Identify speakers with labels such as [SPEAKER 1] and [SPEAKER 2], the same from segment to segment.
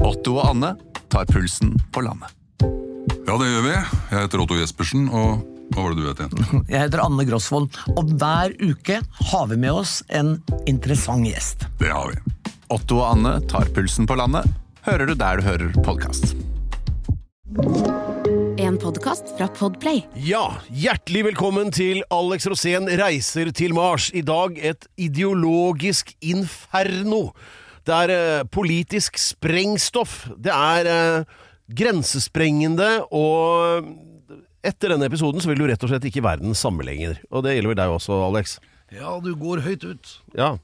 [SPEAKER 1] Otto og Anne tar pulsen på landet.
[SPEAKER 2] Ja, det gjør vi. Jeg heter Otto Jespersen, og hva var det du het igjen?
[SPEAKER 3] Jeg heter Anne Grosvold, og hver uke har vi med oss en interessant gjest.
[SPEAKER 2] Det har vi.
[SPEAKER 1] Otto og Anne tar pulsen på landet, hører du der du hører podkast.
[SPEAKER 4] En podkast fra Podplay.
[SPEAKER 5] Ja, hjertelig velkommen til Alex Rosén reiser til Mars. I dag et ideologisk inferno. Det er eh, politisk sprengstoff. Det er eh, grensesprengende, og etter denne episoden så vil du rett og slett ikke verden samme lenger. Og det gjelder vel deg også, Alex.
[SPEAKER 6] Ja, du går høyt ut.
[SPEAKER 5] Ja,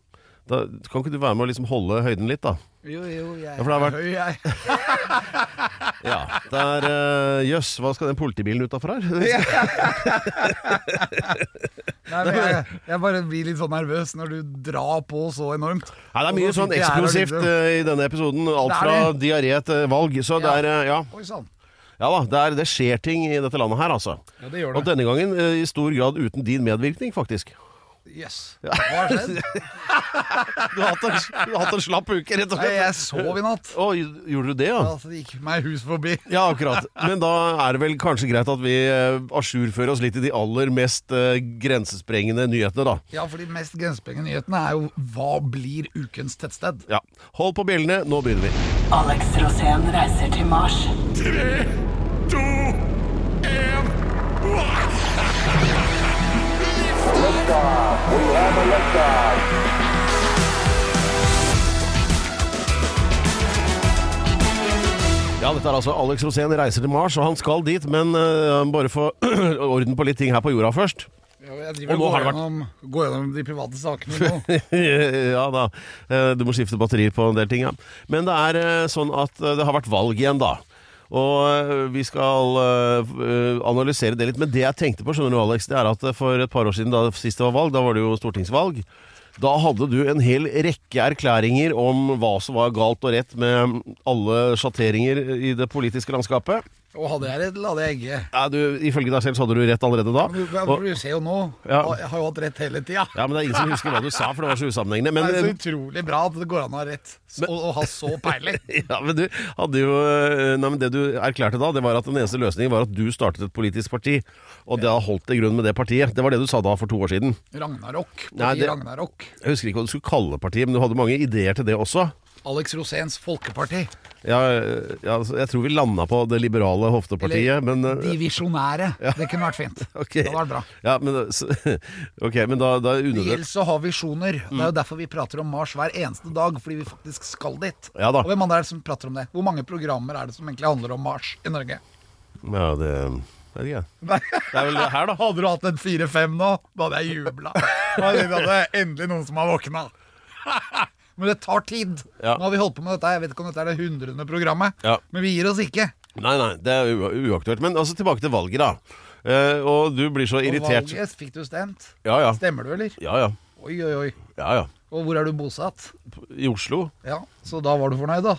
[SPEAKER 5] da kan ikke du være med å liksom holde høyden litt, da?
[SPEAKER 6] Jo, jo, jeg
[SPEAKER 5] Ja, for det har vært-
[SPEAKER 6] høy, jeg.
[SPEAKER 5] Ja, det er eh, Jøss, hva skal den politibilen utafor her?
[SPEAKER 6] Nei, men jeg, jeg bare blir litt sånn nervøs når du drar på så enormt.
[SPEAKER 5] Nei, det er mye
[SPEAKER 6] Og så
[SPEAKER 5] sånn
[SPEAKER 6] sitter jeg her og
[SPEAKER 5] eksplosivt
[SPEAKER 6] liksom-
[SPEAKER 5] eh, i denne episoden. Alt
[SPEAKER 6] Det er
[SPEAKER 5] fra
[SPEAKER 6] det.
[SPEAKER 5] diaré til valg. Så det
[SPEAKER 6] Ja.
[SPEAKER 5] er eh, Ja.
[SPEAKER 6] Oi sånn. sann.
[SPEAKER 5] Ja da, det, er, det skjer ting i dette landet her, altså.
[SPEAKER 6] Ja, det gjør
[SPEAKER 5] Og denne gangen eh, i stor grad uten din medvirkning, faktisk.
[SPEAKER 6] Yes. Hva har skjedd?
[SPEAKER 5] Du har hatt en, du har hatt en slapp uke, rett og
[SPEAKER 6] Nei,
[SPEAKER 5] slett.
[SPEAKER 6] jeg sov i natt.
[SPEAKER 5] Å, gj- gjorde du det, ja?
[SPEAKER 6] Altså, det gikk meg hus forbi.
[SPEAKER 5] Ja, akkurat. Men da er det vel kanskje greit at vi eh, ajourfører oss litt i de aller mest eh, grensesprengende nyhetene, da.
[SPEAKER 6] Ja, for de mest grensesprengende nyhetene er jo hva blir ukens tettsted?
[SPEAKER 5] Ja. Hold på bjellene, nå begynner vi.
[SPEAKER 7] Alex Rosén reiser til Mars.
[SPEAKER 5] Ja, dette er altså Alex Rosén reiser til Mars, og han skal dit, men eh, bare få orden på litt ting her på jorda først.
[SPEAKER 6] Jeg
[SPEAKER 5] og
[SPEAKER 6] driver
[SPEAKER 5] nå har
[SPEAKER 6] og går
[SPEAKER 5] det vært-
[SPEAKER 6] gjennom, går gjennom de private sakene nå.
[SPEAKER 5] ja da. Eh, Du må skifte batterier på en del ting, ja. Men det er eh, sånn at eh, det har vært valg igjen, da. Og eh, vi skal eh, f- eh, analysere det litt. Men det jeg tenkte på, skjønner du Alex, det er at eh, for et par år siden, da sist det var valg, da var det jo stortingsvalg. Da hadde du en hel rekke erklæringer om hva som var galt og rett med alle sjatteringer i det politiske landskapet.
[SPEAKER 6] Og hadde jeg rett, eller hadde jeg ikke?
[SPEAKER 5] Ja, du, ifølge deg selv så hadde du rett allerede da.
[SPEAKER 6] Men du- men
[SPEAKER 5] Og,
[SPEAKER 6] Du ser jo nå,
[SPEAKER 5] Ja.
[SPEAKER 6] jeg har jo hatt rett hele tida.
[SPEAKER 5] ja, Men det er ingen som husker hva du sa, for det var så usammenhengende.
[SPEAKER 6] Det er så
[SPEAKER 5] Men,
[SPEAKER 6] utrolig bra at det går an å ha rett,
[SPEAKER 5] Men-
[SPEAKER 6] og, og ha så peiling.
[SPEAKER 5] Ja, men du hadde jo eh, Nei, men det du erklærte da, det var at den eneste løsningen var at du startet et politisk parti, og det har holdt til grunn med det partiet. Det var det du sa da for to år siden.
[SPEAKER 6] Ragnarok.
[SPEAKER 5] Nei,
[SPEAKER 6] Nei,
[SPEAKER 5] det-
[SPEAKER 6] Ragnarok.
[SPEAKER 5] Jeg husker ikke hva du skulle kalle partiet, men du hadde mange ideer til det også.
[SPEAKER 6] Alex Roséns Folkeparti.
[SPEAKER 5] Ja, eh, ja, altså, jeg tror vi landa på det liberale hoftepartiet,
[SPEAKER 6] Eller
[SPEAKER 5] men eh,
[SPEAKER 6] De visjonære. Det kunne vært fint.
[SPEAKER 5] ok.
[SPEAKER 6] Det hadde vært bra.
[SPEAKER 5] Ja, men, eh, så, ok, men da, da
[SPEAKER 6] Det
[SPEAKER 5] unødvendig
[SPEAKER 6] gjelder å ha visjoner. Det
[SPEAKER 5] Mm.
[SPEAKER 6] er jo derfor vi prater om Mars hver eneste dag, fordi vi faktisk skal dit.
[SPEAKER 5] Ja da.
[SPEAKER 6] Og hvem andre er det som prater om det? Hvor mange programmer er det som egentlig handler om Mars i Norge?
[SPEAKER 5] Ja, det vet ikke jeg.
[SPEAKER 6] Nei.
[SPEAKER 5] Det er vel det her, da.
[SPEAKER 6] Hadde du hatt en fire-fem nå, da hadde jeg jubla. Da hadde jeg tenkt at det er endelig noen som har våkna. Men det tar tid.
[SPEAKER 5] Ja.
[SPEAKER 6] Nå har vi holdt på med dette. Jeg vet ikke om dette er det hundrede programmet,
[SPEAKER 5] Ja.
[SPEAKER 6] men vi gir oss ikke.
[SPEAKER 5] Nei, nei, det er u- uaktuelt. Men altså tilbake til valget, da. Eh, og du blir så
[SPEAKER 6] Og
[SPEAKER 5] irritert.
[SPEAKER 6] valget fikk du stemt.
[SPEAKER 5] Ja, ja.
[SPEAKER 6] Stemmer du, eller?
[SPEAKER 5] Ja, ja.
[SPEAKER 6] Oi, oi, oi.
[SPEAKER 5] ja, ja.
[SPEAKER 6] Og hvor er du bosatt?
[SPEAKER 5] I Oslo?
[SPEAKER 6] Ja, Så da var du fornøyd, da?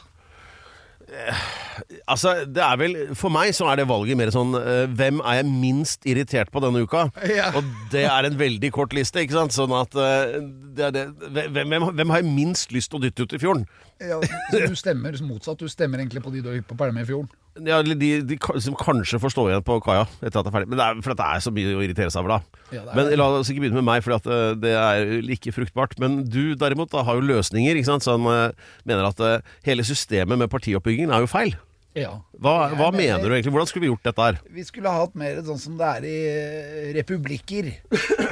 [SPEAKER 5] Altså, det er vel, For meg så er det valget mer sånn eh, Hvem er jeg minst irritert på denne uka?
[SPEAKER 6] Ja.
[SPEAKER 5] Og det er en veldig kort liste, ikke sant? Sånn at eh, det er det, hvem, hvem, hvem har jeg minst lyst til å dytte ut i fjorden?
[SPEAKER 6] Ja, så du stemmer motsatt. Du stemmer egentlig på de du gikk på Permefjorden.
[SPEAKER 5] Ja, eller de, de ka- som kanskje får stå igjen på kaia etter at det er ferdig. Men det er, for det er så mye å irritere seg over, da.
[SPEAKER 6] Ja, det er
[SPEAKER 5] men
[SPEAKER 6] det.
[SPEAKER 5] la oss ikke begynne med meg, for eh, det er ikke fruktbart. Men du derimot da, har jo løsninger, ikke sant? Så han eh, mener at eh, hele systemet med partioppbyggingen er jo feil.
[SPEAKER 6] Ja.
[SPEAKER 5] Hva,
[SPEAKER 6] Jeg
[SPEAKER 5] hva
[SPEAKER 6] mener-
[SPEAKER 5] mener du egentlig? Hvordan skulle vi gjort dette her?
[SPEAKER 6] Vi skulle ha hatt mer sånn som det er i eh, republikker.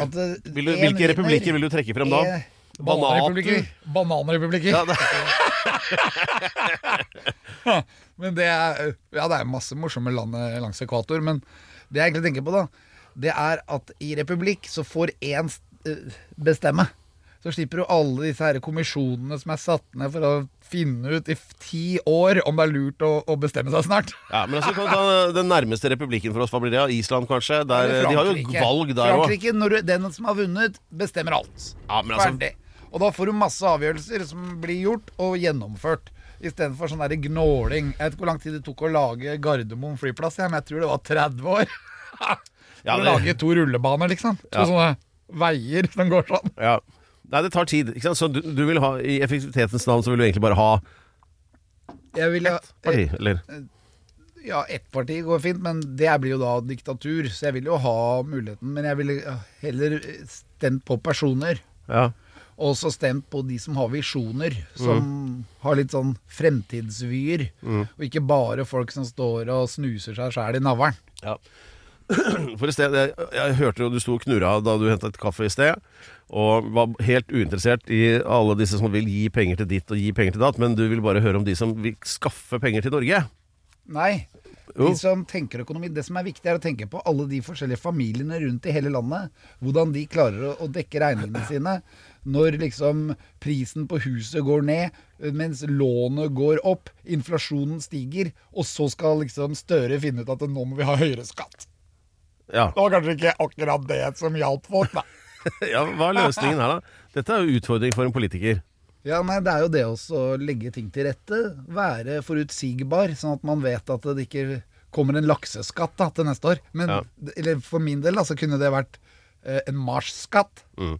[SPEAKER 6] At, eh,
[SPEAKER 5] Vil du,
[SPEAKER 6] en
[SPEAKER 5] hvilke
[SPEAKER 6] vinner,
[SPEAKER 5] republikker vil du trekke frem da?
[SPEAKER 6] en- Bananrepublikker. Bananrepublikker.
[SPEAKER 5] Ja, det,
[SPEAKER 6] Men det er, ja, det er masse morsomme land eh, langs ekvator, men det jeg egentlig tenker på da, det er at i republikk så får én s- eh, bestemme. Så slipper du alle disse her kommisjonene som er satt ned for å finne ut i f- ti år om det er lurt å, å bestemme seg snart.
[SPEAKER 5] ja, men altså, kan vi ta den nærmeste republikken for oss, hva blir det? Ja, Island, kanskje? Der,
[SPEAKER 6] Eller
[SPEAKER 5] de har jo
[SPEAKER 6] Frankrike.
[SPEAKER 5] valg der òg.
[SPEAKER 6] Frankrike, når du, den som har vunnet, bestemmer alt.
[SPEAKER 5] Ja, men altså-
[SPEAKER 6] Ferdig. Og da får du masse avgjørelser som blir gjort og gjennomført. Istedenfor sånn der gnåling. Jeg vet ikke hvor lang tid det tok å lage Gardermoen flyplass, jeg, men jeg tror det var 30 år.
[SPEAKER 5] Ja,
[SPEAKER 6] For å
[SPEAKER 5] det-
[SPEAKER 6] lage to rullebaner, liksom. To
[SPEAKER 5] Ja.
[SPEAKER 6] sånne veier som går sånn.
[SPEAKER 5] Ja. Nei, det tar tid. Ikke sant? Så du, du vil ha, I effektivitetens navn så vil du egentlig bare ha
[SPEAKER 6] Jeg vil ha,
[SPEAKER 5] Parti, eller?
[SPEAKER 6] eh. ja, ett parti går fint, men det blir jo da diktatur. Så jeg vil jo ha muligheten, men jeg ville heller stemt på personer.
[SPEAKER 5] Ja.
[SPEAKER 6] Og også stemt på de som har visjoner, som har litt sånn fremtidsvyer. Og ikke bare folk som står og snuser seg sjæl i navlen.
[SPEAKER 5] Ja. For i sted, jeg, jeg hørte jo du sto og knurra da du henta et kaffe i sted, og var helt uinteressert i alle disse som vil gi penger til ditt og gi penger til datt, men du vil bare høre om de som vil skaffe penger til Norge.
[SPEAKER 6] Nei.
[SPEAKER 5] Jo.
[SPEAKER 6] De som tenker økonomi, Det som er viktig, er å tenke på alle de forskjellige familiene rundt i hele landet. Hvordan de klarer å- å dekke regningene sine når liksom prisen på huset går ned, mens lånet går opp, inflasjonen stiger, og så skal liksom Støre finne ut at nå må vi ha høyere skatt.
[SPEAKER 5] Ja.
[SPEAKER 6] Det var kanskje ikke akkurat det som hjalp folk, da.
[SPEAKER 5] ja, hva er løsningen her, da? Dette er jo utfordring for en politiker.
[SPEAKER 6] Ja, nei, Det er jo det også å legge ting til rette. Være forutsigbar, sånn at man vet at det ikke kommer en lakseskatt da, til neste år. Men
[SPEAKER 5] Ja.
[SPEAKER 6] eller for min del da, så kunne det vært eh, en marsjskatt.
[SPEAKER 5] Mm. Men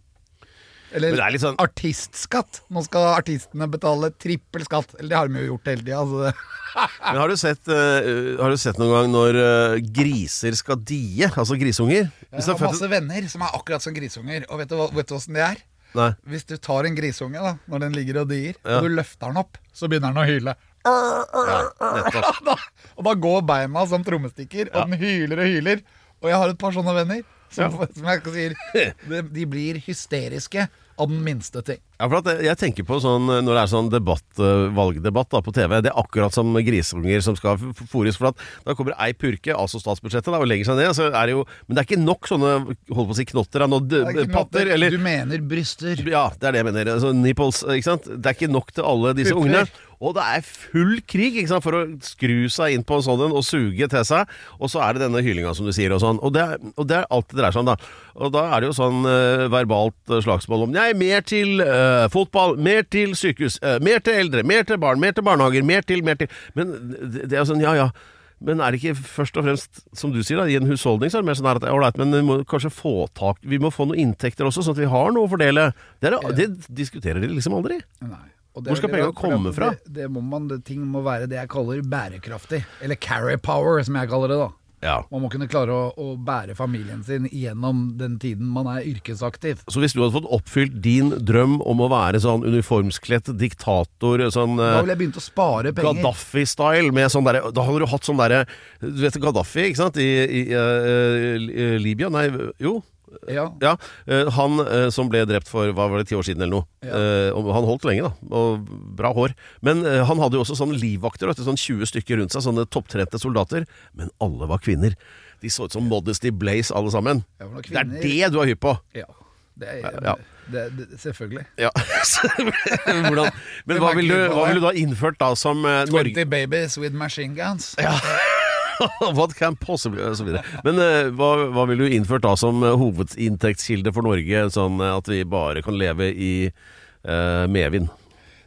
[SPEAKER 6] Eller
[SPEAKER 5] det er litt sånn-
[SPEAKER 6] artistskatt. Nå skal artistene betale trippel skatt. Eller det har de jo gjort hele tida. Altså det-
[SPEAKER 5] Men har du sett, eh, har du sett noen gang når eh, griser skal die, altså grisunger?
[SPEAKER 6] jeg
[SPEAKER 5] Hvis det
[SPEAKER 6] har
[SPEAKER 5] er født
[SPEAKER 6] masse venner som er akkurat som grisunger. Og vet du hva- vet du åssen det er?
[SPEAKER 5] Nei.
[SPEAKER 6] Hvis du tar en grisunge da, når den ligger og dier,
[SPEAKER 5] Ja.
[SPEAKER 6] og du løfter den opp, så begynner den å hyle. da, og da går beina som trommestikker, og den hyler og hyler. Og jeg har et par sånne venner som, som jeg ikke sier de, de blir hysteriske av den minste ting.
[SPEAKER 5] Ja, for at jeg- jeg tenker på sånn, eh, når det er sånn debatt, eh, valgdebatt da, på TV, det er akkurat som grisunger som skal f- f- fôres. For at da kommer ei purke, altså statsbudsjettet, da, og legger seg ned. Så er det jo, men det er ikke nok sånne holdt på å si knotter, da, nå, d-
[SPEAKER 6] Det er ikke noe-
[SPEAKER 5] patter eller
[SPEAKER 6] Du mener bryster.
[SPEAKER 5] Ja, det er det jeg mener. Altså, nipples, ikke sant? Det er ikke nok til alle disse
[SPEAKER 6] Pupper.
[SPEAKER 5] ungene. Og det er full krig ikke sant? for å skru seg inn på en sånn en og suge til seg. Og så er det denne hylinga, som du sier. Og sånn Og det er, og det er alt det dreier seg om, da. Og da er det jo sånn eh, verbalt eh, slagsmål om Nei, mer til eh, fotball, mer til sykehus, eh, mer til eldre, mer til barn, mer til barnehager, mer til, mer til Men det, det er jo sånn, ja ja. Men er det ikke først og fremst, som du sier, da, i en husholdning så er det mer sånn her at ålreit, men vi må kanskje få tak Vi må få noen inntekter også, sånn at vi har noe å fordele. Det, er, det diskuterer de liksom aldri.
[SPEAKER 6] Nei. Og
[SPEAKER 5] Hvor skal
[SPEAKER 6] er
[SPEAKER 5] pengene
[SPEAKER 6] veldig rart, for
[SPEAKER 5] komme
[SPEAKER 6] at
[SPEAKER 5] fra?
[SPEAKER 6] Det, det må man, det, ting må være det jeg kaller bærekraftig. Eller carry power, som jeg kaller det. da.
[SPEAKER 5] Ja.
[SPEAKER 6] Man må kunne klare å, å bære familien sin gjennom den tiden man er yrkesaktiv.
[SPEAKER 5] Så hvis du hadde fått oppfylt din drøm om å være sånn uniformskledt diktator, sånn
[SPEAKER 6] Da
[SPEAKER 5] eh,
[SPEAKER 6] ville jeg begynt å spare penger.
[SPEAKER 5] Gaddafi-style med sånn derre Da hadde du hatt sånn derre Du vet Gaddafi, ikke sant? I, i eh, eh, Libya? Nei, jo.
[SPEAKER 6] Ja.
[SPEAKER 5] Ja, eh, Han eh, som ble drept for hva var det, ti år siden eller noe. Eh, og Han holdt lenge, da. Og bra hår. Men eh, han hadde jo også sånne livvakter, vet du, sånn 20 stykker rundt seg. Sånne topptrente soldater. Men alle var kvinner. De så ut som Modesty Blaze, alle sammen.
[SPEAKER 6] Ja, for noen
[SPEAKER 5] Det er
[SPEAKER 6] kvinner-
[SPEAKER 5] det du er hypp på!
[SPEAKER 6] Ja, det er,
[SPEAKER 5] Ja.
[SPEAKER 6] Det, det, selvfølgelig.
[SPEAKER 5] Ja. Så, Hvordan, men hva ville du, hva vil du da innført da som eh,
[SPEAKER 6] 20
[SPEAKER 5] Norge
[SPEAKER 6] babies with machine guns.
[SPEAKER 5] What can possibly og så videre. Men eh, hva, hva ville du innført da som eh, hovedinntektskilde for Norge, sånn eh, at vi bare kan leve i eh, medvind?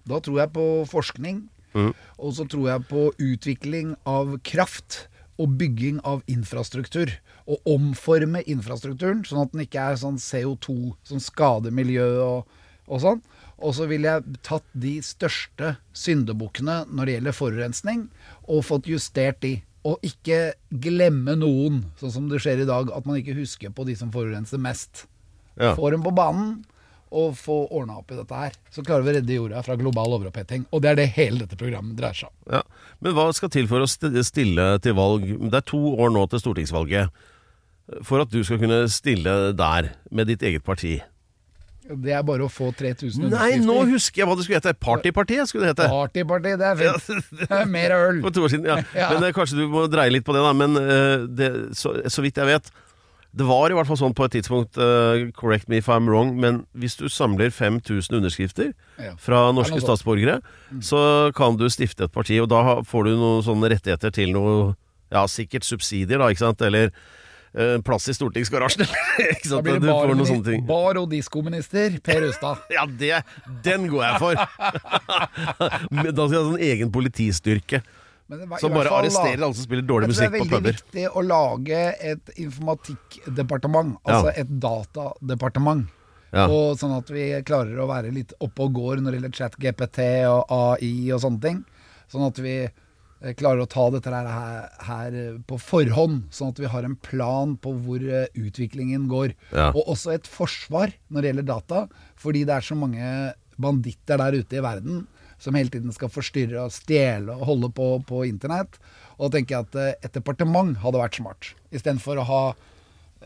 [SPEAKER 6] Da tror jeg på forskning, og så tror jeg på utvikling av kraft og bygging av infrastruktur. Og omforme infrastrukturen, sånn at den ikke er sånn CO2 som skader miljøet og, og sånn. Og så ville jeg tatt de største syndebukkene når det gjelder forurensning, og fått justert de. Og ikke glemme noen, sånn som det skjer i dag, at man ikke husker på de som forurenser mest.
[SPEAKER 5] Ja.
[SPEAKER 6] Få dem på banen og få ordna opp i dette her. Så klarer vi å redde jorda fra global overoppheting. Og det er det hele dette programmet dreier seg om.
[SPEAKER 5] Ja. Men hva skal til for å st- stille til valg? Det er to år nå til stortingsvalget. For at du skal kunne stille der med ditt eget parti.
[SPEAKER 6] Det er bare å få 3000
[SPEAKER 5] Nei, nå
[SPEAKER 6] underskrifter.
[SPEAKER 5] husker jeg hva det skulle hete. Partypartiet skulle det hete.
[SPEAKER 6] Partyparty, det er fint. Det er mer øl.
[SPEAKER 5] For to år siden, ja.
[SPEAKER 6] Ja.
[SPEAKER 5] Men eh, kanskje du må dreie litt på det, da. Men eh, det, så, så vidt jeg vet Det var i hvert fall sånn på et tidspunkt, eh, correct me if I'm wrong, men hvis du samler 5000 underskrifter
[SPEAKER 6] Ja.
[SPEAKER 5] fra
[SPEAKER 6] Er
[SPEAKER 5] norske
[SPEAKER 6] det noe sånt? Mm.
[SPEAKER 5] statsborgere, så kan du stifte et parti, og da ha- får du noen sånne rettigheter til noe Ja, sikkert subsidier, da, ikke sant? Eller eh, plass i stortingsgarasjen, eller ikke
[SPEAKER 6] Da
[SPEAKER 5] sant?
[SPEAKER 6] blir
[SPEAKER 5] Du
[SPEAKER 6] det
[SPEAKER 5] får noen
[SPEAKER 6] barminister-
[SPEAKER 5] sånne ting.
[SPEAKER 6] bar- og diskominister Per Ustad.
[SPEAKER 5] Ja, det, den går jeg for! Men da skal jeg ha sånn egen politistyrke.
[SPEAKER 6] Men det var- i
[SPEAKER 5] Som
[SPEAKER 6] hvert
[SPEAKER 5] bare
[SPEAKER 6] fall
[SPEAKER 5] arresterer
[SPEAKER 6] la-
[SPEAKER 5] alle som spiller dårlig
[SPEAKER 6] Jeg
[SPEAKER 5] musikk på
[SPEAKER 6] tror Det er
[SPEAKER 5] puber.
[SPEAKER 6] veldig viktig å lage et informatikkdepartement,
[SPEAKER 5] Ja.
[SPEAKER 6] altså et datadepartement.
[SPEAKER 5] Ja.
[SPEAKER 6] Og sånn at vi klarer å være litt oppe og går når det gjelder chat-GPT og AI og sånne ting. Sånn at vi eh, klarer å ta dette her, her, her eh, på forhånd, sånn at vi har en plan på hvor eh, utviklingen går.
[SPEAKER 5] Ja.
[SPEAKER 6] Og også et forsvar når det gjelder data, fordi det er så mange banditter der ute i verden som hele tiden skal forstyrre og stjele og holde på på internett. Og da tenker jeg at eh, et departement hadde vært smart, istedenfor å ha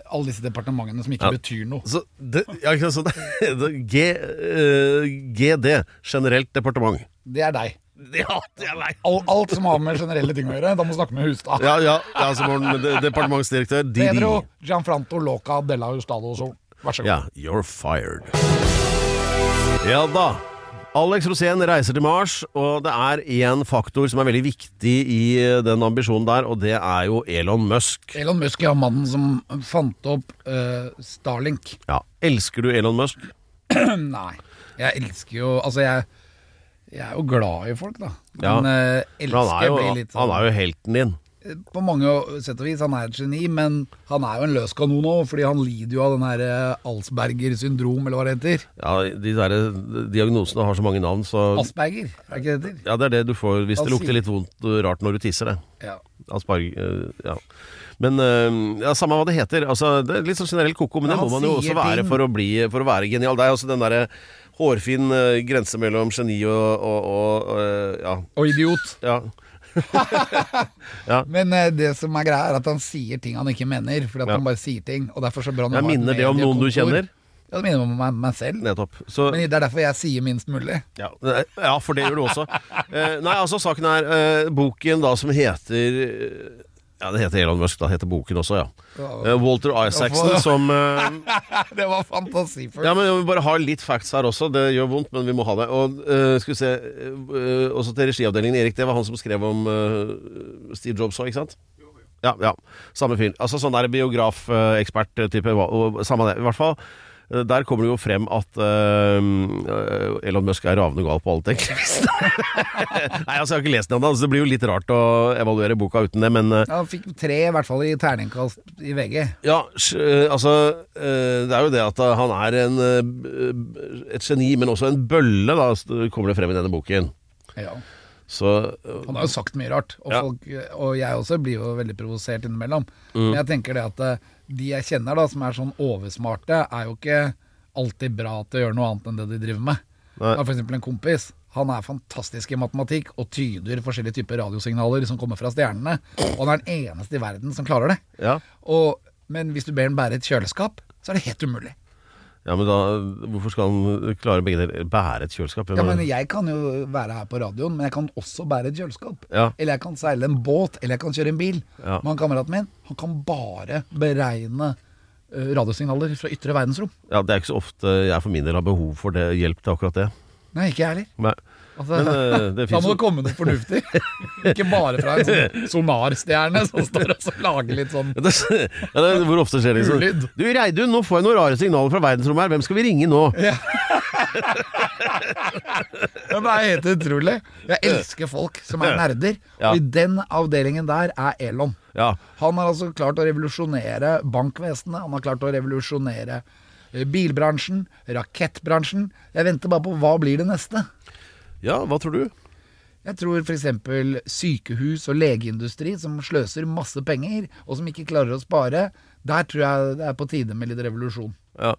[SPEAKER 6] alle disse departementene som ikke
[SPEAKER 5] Ja.
[SPEAKER 6] betyr noe.
[SPEAKER 5] Så det, ja, ikke sant, så det, G, eh, GD, generelt departement.
[SPEAKER 6] Det er deg.
[SPEAKER 5] Ja, det er meg!
[SPEAKER 6] Al- alt som har med generelle ting å gjøre. Da må du snakke med Hustad.
[SPEAKER 5] Ja, ja, ja så må den- de- departementsdirektør DD.
[SPEAKER 6] Pedro Gianfranto Loca della Hustado Sol. Vær så god.
[SPEAKER 5] Ja, you're fired. Ja da. Alex Rosén reiser til Mars, og det er én faktor som er veldig viktig i eh, den ambisjonen der, og det er jo Elon Musk.
[SPEAKER 6] Elon Musk er mannen som fant opp eh, Starlink.
[SPEAKER 5] Ja, Elsker du Elon Musk?
[SPEAKER 6] Nei. Jeg elsker jo Altså, jeg, jeg er jo glad i folk, da.
[SPEAKER 5] Ja.
[SPEAKER 6] Men eh,
[SPEAKER 5] For han er
[SPEAKER 6] elsker
[SPEAKER 5] jo,
[SPEAKER 6] blir litt
[SPEAKER 5] han
[SPEAKER 6] sånn
[SPEAKER 5] er jo helten din.
[SPEAKER 6] På mange sett og vis. Han er et geni, men han er jo en løs kanon òg, fordi han lider jo av den her eh, Alsberger syndrom, eller hva det heter.
[SPEAKER 5] Ja, De der eh, diagnosene har så mange navn, så
[SPEAKER 6] Asperger, er det ikke det heter?
[SPEAKER 5] ja, Det er det du får hvis det
[SPEAKER 6] Asy-
[SPEAKER 5] lukter litt vondt og rart når du tisser. det
[SPEAKER 6] Ja.
[SPEAKER 5] Asparg... eh, Ja. Men eh, ja, samme hva det heter. Altså, det er litt sånn generell koko, men det
[SPEAKER 6] Men
[SPEAKER 5] må
[SPEAKER 6] han
[SPEAKER 5] man jo også
[SPEAKER 6] sier
[SPEAKER 5] være
[SPEAKER 6] ting.
[SPEAKER 5] for å, bli, for å være genial. Det er jo også den derre hårfin eh, grense mellom geni og, og, og eh, ja.
[SPEAKER 6] Og idiot.
[SPEAKER 5] ja.
[SPEAKER 6] Men eh, det som er greia, er at han sier ting han ikke mener. Fordi at
[SPEAKER 5] Ja.
[SPEAKER 6] han bare sier ting. Og derfor så bør han
[SPEAKER 5] Jeg
[SPEAKER 6] ha et
[SPEAKER 5] minner det om noen du
[SPEAKER 6] mediekontor.
[SPEAKER 5] kjenner?
[SPEAKER 6] Ja, det minner om meg, meg selv.
[SPEAKER 5] Nettopp. Så,
[SPEAKER 6] Men det er derfor jeg sier minst mulig.
[SPEAKER 5] ja. eh, ja, for det gjør du også. Eh, nei, altså, saken er eh, boken da som heter eh, ja, Det heter Elon Musk, da heter boken også, ja. Eh, Walter Isaacson
[SPEAKER 6] Ja, for-
[SPEAKER 5] som eh,
[SPEAKER 6] Det var fantasifullt.
[SPEAKER 5] Ja, men Vi må bare ha litt facts her også. Det gjør vondt, men vi må ha det. Og eh, skal vi se eh, Også til regiavdelingen Erik. Det var han som skrev om eh, Steve Jobs òg, ikke sant? Ja, ja. Samme fyr. Altså sånn der eh, biografekspert-type. Samme det. I hvert fall. eh, Der kommer det jo frem at eh, Elon Musk er ravende gal på alt, egentlig. Nei, altså, jeg har ikke lest den ennå, så det blir jo litt rart å evaluere boka uten det, men eh,
[SPEAKER 6] Ja, han fikk tre, i hvert fall i terningkast i VG.
[SPEAKER 5] ja, sj- eh, altså eh, Det er jo det at eh, han er en, eh, b- eh, et geni, men også en bølle, da, s- kommer det frem i denne boken.
[SPEAKER 6] Ja.
[SPEAKER 5] Så eh,
[SPEAKER 6] Han har jo sagt mye rart, og,
[SPEAKER 5] Ja. Mm.
[SPEAKER 6] folk, og jeg også blir jo veldig provosert innimellom. Men jeg tenker det at eh, de jeg kjenner da, som er sånn oversmarte, er jo ikke alltid bra til å gjøre noe annet enn det de driver med.
[SPEAKER 5] Nei.
[SPEAKER 6] Jeg har for eksempel en kompis. Han er fantastisk i matematikk og tyder forskjellige typer radiosignaler som kommer fra stjernene. Og han er den eneste i verden som klarer det.
[SPEAKER 5] ja.
[SPEAKER 6] Og, men hvis du ber han bære et kjøleskap, så er det helt umulig.
[SPEAKER 5] ja, men da Hvorfor skal han eh, klare begge deler? Bære et kjøleskap?
[SPEAKER 6] Ja, men jeg kan jo være her på radioen, men jeg kan også bære et kjøleskap.
[SPEAKER 5] Ja.
[SPEAKER 6] Eller jeg kan seile en båt, eller jeg kan kjøre en bil.
[SPEAKER 5] Ja.
[SPEAKER 6] Men han kameraten min, han kan bare beregne eh, radiosignaler fra ytre verdensrom.
[SPEAKER 5] ja, Det er ikke så ofte jeg for min del har behov for det, hjelp til akkurat det.
[SPEAKER 6] Nei, ikke jeg heller.
[SPEAKER 5] Nei.
[SPEAKER 6] Altså,
[SPEAKER 5] Men eh, det
[SPEAKER 6] da
[SPEAKER 5] fins
[SPEAKER 6] må det komme noe fornuftig. ikke bare fra en sånn sonarstjerne som står og så lager litt sånn
[SPEAKER 5] ja, det, er- Hvor ofte skjer det? Liksom.
[SPEAKER 6] Ulyd.
[SPEAKER 5] Du Reidun, nå får jeg noen rare signaler fra verdensrommet her. Hvem skal vi ringe nå?
[SPEAKER 6] Men det er helt utrolig. Jeg elsker folk som er nerder,
[SPEAKER 5] Ja.
[SPEAKER 6] og i den avdelingen der er Elon.
[SPEAKER 5] Ja.
[SPEAKER 6] Han har altså klart å revolusjonere bankvesenet, han har klart å revolusjonere eh, bilbransjen, rakettbransjen. Jeg venter bare på hva blir det neste.
[SPEAKER 5] Ja, hva tror du?
[SPEAKER 6] Jeg tror f.eks. sykehus og legeindustri som sløser masse penger, og som ikke klarer å spare. Der tror jeg det er på tide med litt revolusjon.
[SPEAKER 5] Ja.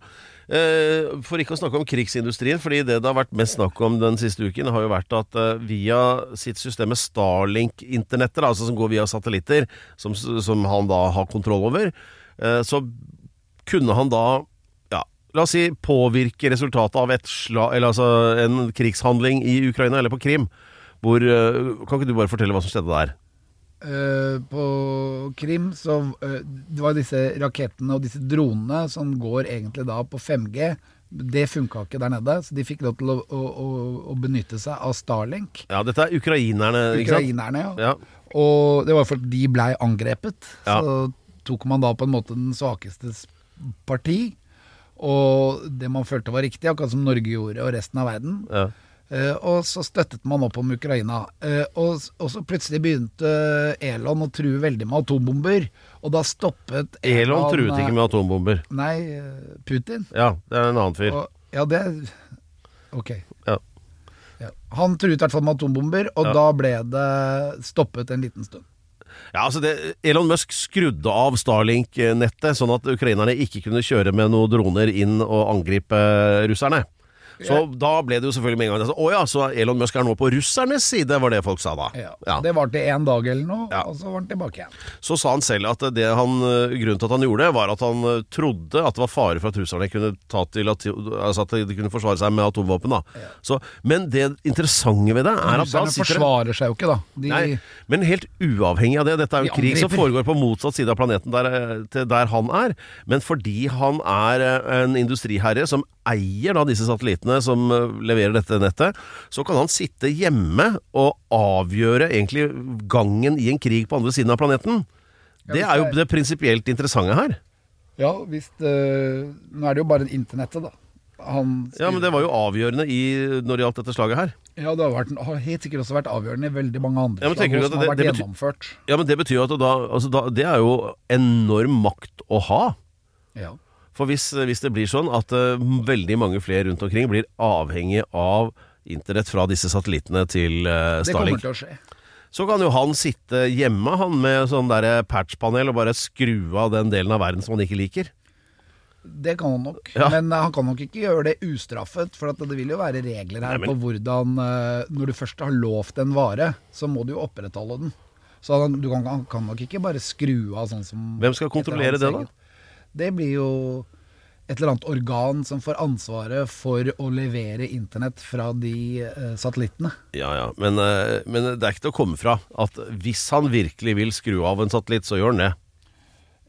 [SPEAKER 5] Eh, For ikke å snakke om krigsindustrien, fordi det det har vært mest snakk om den siste uken, har jo vært at eh, via sitt system med Starlink-internettet, da, altså som går via satellitter, som, som han da har kontroll over, eh, så kunne han da ja, La oss si påvirke resultatet av et sla, eller altså en krigshandling i Ukraina, eller på Krim. Hvor, eh, kan ikke du bare fortelle hva som skjedde der?
[SPEAKER 6] Eh, på Krim så eh, det var disse rakettene og disse dronene som går egentlig da på 5G. Det funka ikke der nede, så de fikk lov til å, å, å, å benytte seg av Starlink.
[SPEAKER 5] Ja, Dette er ukrainerne, ikke sant?
[SPEAKER 6] Ukrainerne, ja.
[SPEAKER 5] Ja.
[SPEAKER 6] Og det var fordi de blei angrepet.
[SPEAKER 5] Ja.
[SPEAKER 6] Så tok man da på en måte den svakestes parti. Og det man følte var riktig, akkurat som Norge gjorde og resten av verden.
[SPEAKER 5] Ja.
[SPEAKER 6] Eh, og så støttet man opp om Ukraina. Eh, og, s- og så plutselig begynte Elon å true veldig med atombomber. Og da stoppet
[SPEAKER 5] Elon truet ikke med atombomber.
[SPEAKER 6] Nei, eh, Putin.
[SPEAKER 5] Ja, det er en annen fyr.
[SPEAKER 6] Og, ja, det Ok.
[SPEAKER 5] Ja.
[SPEAKER 6] Han truet i hvert fall med atombomber, og da ble det stoppet en liten stund.
[SPEAKER 5] Ja, altså det, Elon Musk skrudde av Starlink-nettet, sånn at ukrainerne ikke kunne kjøre med noen droner inn og angripe eh, russerne. Så da ble det jo selvfølgelig med en gang altså, Å ja, så Elon Musk er nå på russernes side, var det folk sa da.
[SPEAKER 6] Ja.
[SPEAKER 5] Ja.
[SPEAKER 6] Det varte én dag eller noe,
[SPEAKER 5] Ja.
[SPEAKER 6] og så var han tilbake igjen.
[SPEAKER 5] Så sa han selv at det han, eh, grunnen til at han gjorde det, var at han eh, trodde at det var fare for at russerne kunne, ta til, at- altså at de kunne forsvare seg med atomvåpen. Da. Så, men det interessante ved det er at da
[SPEAKER 6] Russerne
[SPEAKER 5] sitter det
[SPEAKER 6] forsvarer seg jo ikke, da. De,
[SPEAKER 5] Nei, men helt uavhengig av det. Dette er jo
[SPEAKER 6] De
[SPEAKER 5] krig som
[SPEAKER 6] angriper.
[SPEAKER 5] foregår på motsatt side av planeten der, eh, til der han er. Men fordi han er eh, en industriherre som eier da disse satellittene som eh, leverer dette nettet, så kan han sitte hjemme og avgjøre egentlig gangen i en krig på andre siden av planeten. Det
[SPEAKER 6] hvis
[SPEAKER 5] er jo
[SPEAKER 6] det er-
[SPEAKER 5] det prinsipielt interessante her.
[SPEAKER 6] Ja visst. øh, nå er det jo bare internettet, da. Han
[SPEAKER 5] Ja, men det var jo avgjørende i, når det gjaldt dette slaget her.
[SPEAKER 6] Ja, det har, vært, har helt sikkert også vært avgjørende i veldig mange andre
[SPEAKER 5] Ja, men tenker du
[SPEAKER 6] slag
[SPEAKER 5] at
[SPEAKER 6] som har
[SPEAKER 5] det-
[SPEAKER 6] vært
[SPEAKER 5] det betyr-
[SPEAKER 6] gjennomført.
[SPEAKER 5] Ja, men det betyr jo at da, altså da Det er jo enorm makt å ha.
[SPEAKER 6] Ja.
[SPEAKER 5] For hvis, hvis det blir sånn at eh, veldig mange flere rundt omkring blir avhengig av internett fra disse satellittene til eh,
[SPEAKER 6] Det kommer
[SPEAKER 5] Starlink,
[SPEAKER 6] til å skje.
[SPEAKER 5] så kan jo han sitte hjemme han med sånn der patchpanel og bare skru av den delen av verden som han ikke liker.
[SPEAKER 6] Det kan han nok.
[SPEAKER 5] Ja.
[SPEAKER 6] Men eh, han kan nok ikke gjøre det ustraffet, for at det vil jo være regler her
[SPEAKER 5] Nei, men-
[SPEAKER 6] på hvordan eh, Når du først har lovt en vare, så må du jo opprettholde den. Så han, du kan, han kan nok ikke bare skru av sånn som
[SPEAKER 5] Hvem skal kontrollere
[SPEAKER 6] etter
[SPEAKER 5] det,
[SPEAKER 6] hans
[SPEAKER 5] da?
[SPEAKER 6] eget. Det blir jo et eller annet organ som får ansvaret for å levere internett fra de eh, satellittene.
[SPEAKER 5] Ja, ja, men, eh, men det er ikke til å komme fra at hvis han virkelig vil skru av en satellitt, så gjør han det.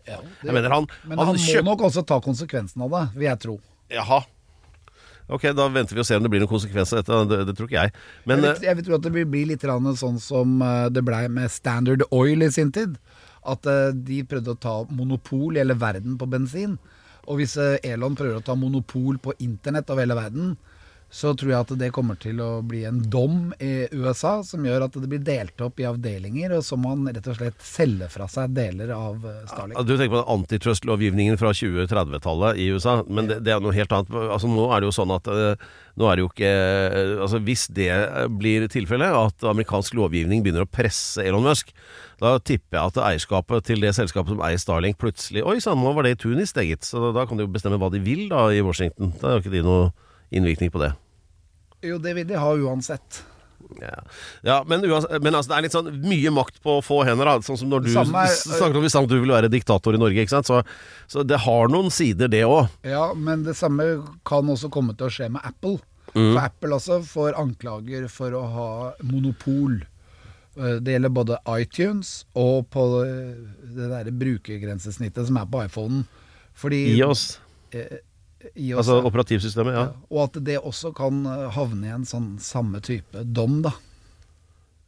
[SPEAKER 6] det-
[SPEAKER 5] Jeg mener, han,
[SPEAKER 6] Men han, må
[SPEAKER 5] kjøp-
[SPEAKER 6] nok også ta konsekvensen av det, vil jeg tro.
[SPEAKER 5] Jaha. Ok, da venter vi og ser om det blir noen konsekvenser av dette. Det, det tror ikke jeg. Men, eh,
[SPEAKER 6] Jeg vil, jeg vil tro at det vil bli litt grann sånn som eh, det blei med Standard Oil i sin tid. At eh, de prøvde å ta monopol i hele verden på bensin. Og hvis eh, Elon prøver å ta monopol på internett over hele verden, så tror jeg at det kommer til å bli en dom i USA som gjør at det blir delt opp i avdelinger, og så må han rett og slett selge fra seg deler av eh, Starlink.
[SPEAKER 5] Du tenker på den antitrust-lovgivningen fra 2030-tallet i USA, men det, det er noe helt annet. Altså, nå er det jo sånn at eh, nå er det jo ikke eh, altså, Hvis det eh, blir tilfellet, at amerikansk lovgivning begynner å presse Elon Musk, da tipper jeg at eierskapet til det selskapet som eier Starlink, plutselig Oi sann, nå var det i Tunis, det, gitt. Så da, da kan de jo bestemme hva de vil da i Washington. Da har jo ikke de noe innvirkning på det.
[SPEAKER 6] Jo, det vil de ha uansett.
[SPEAKER 5] Ja, ja men, uans- men altså, det er litt sånn mye makt på få hender. Da. Sånn som når du
[SPEAKER 6] Det samme er-
[SPEAKER 5] s- snakket om i stad at du vil være diktator i Norge. Ikke sant? Så, så det har noen sider, det òg.
[SPEAKER 6] Ja, men det samme kan også komme til å skje med Apple.
[SPEAKER 5] Mm.
[SPEAKER 6] For Apple også får anklager for å ha monopol. Eh, Det gjelder både iTunes og på eh, det der brukergrensesnittet som er på iPhonen. Fordi
[SPEAKER 5] I oss.
[SPEAKER 6] iOS,
[SPEAKER 5] Altså
[SPEAKER 6] ja.
[SPEAKER 5] operativsystemet. Ja.
[SPEAKER 6] Og at det også kan eh, havne i en sånn samme type dom, da.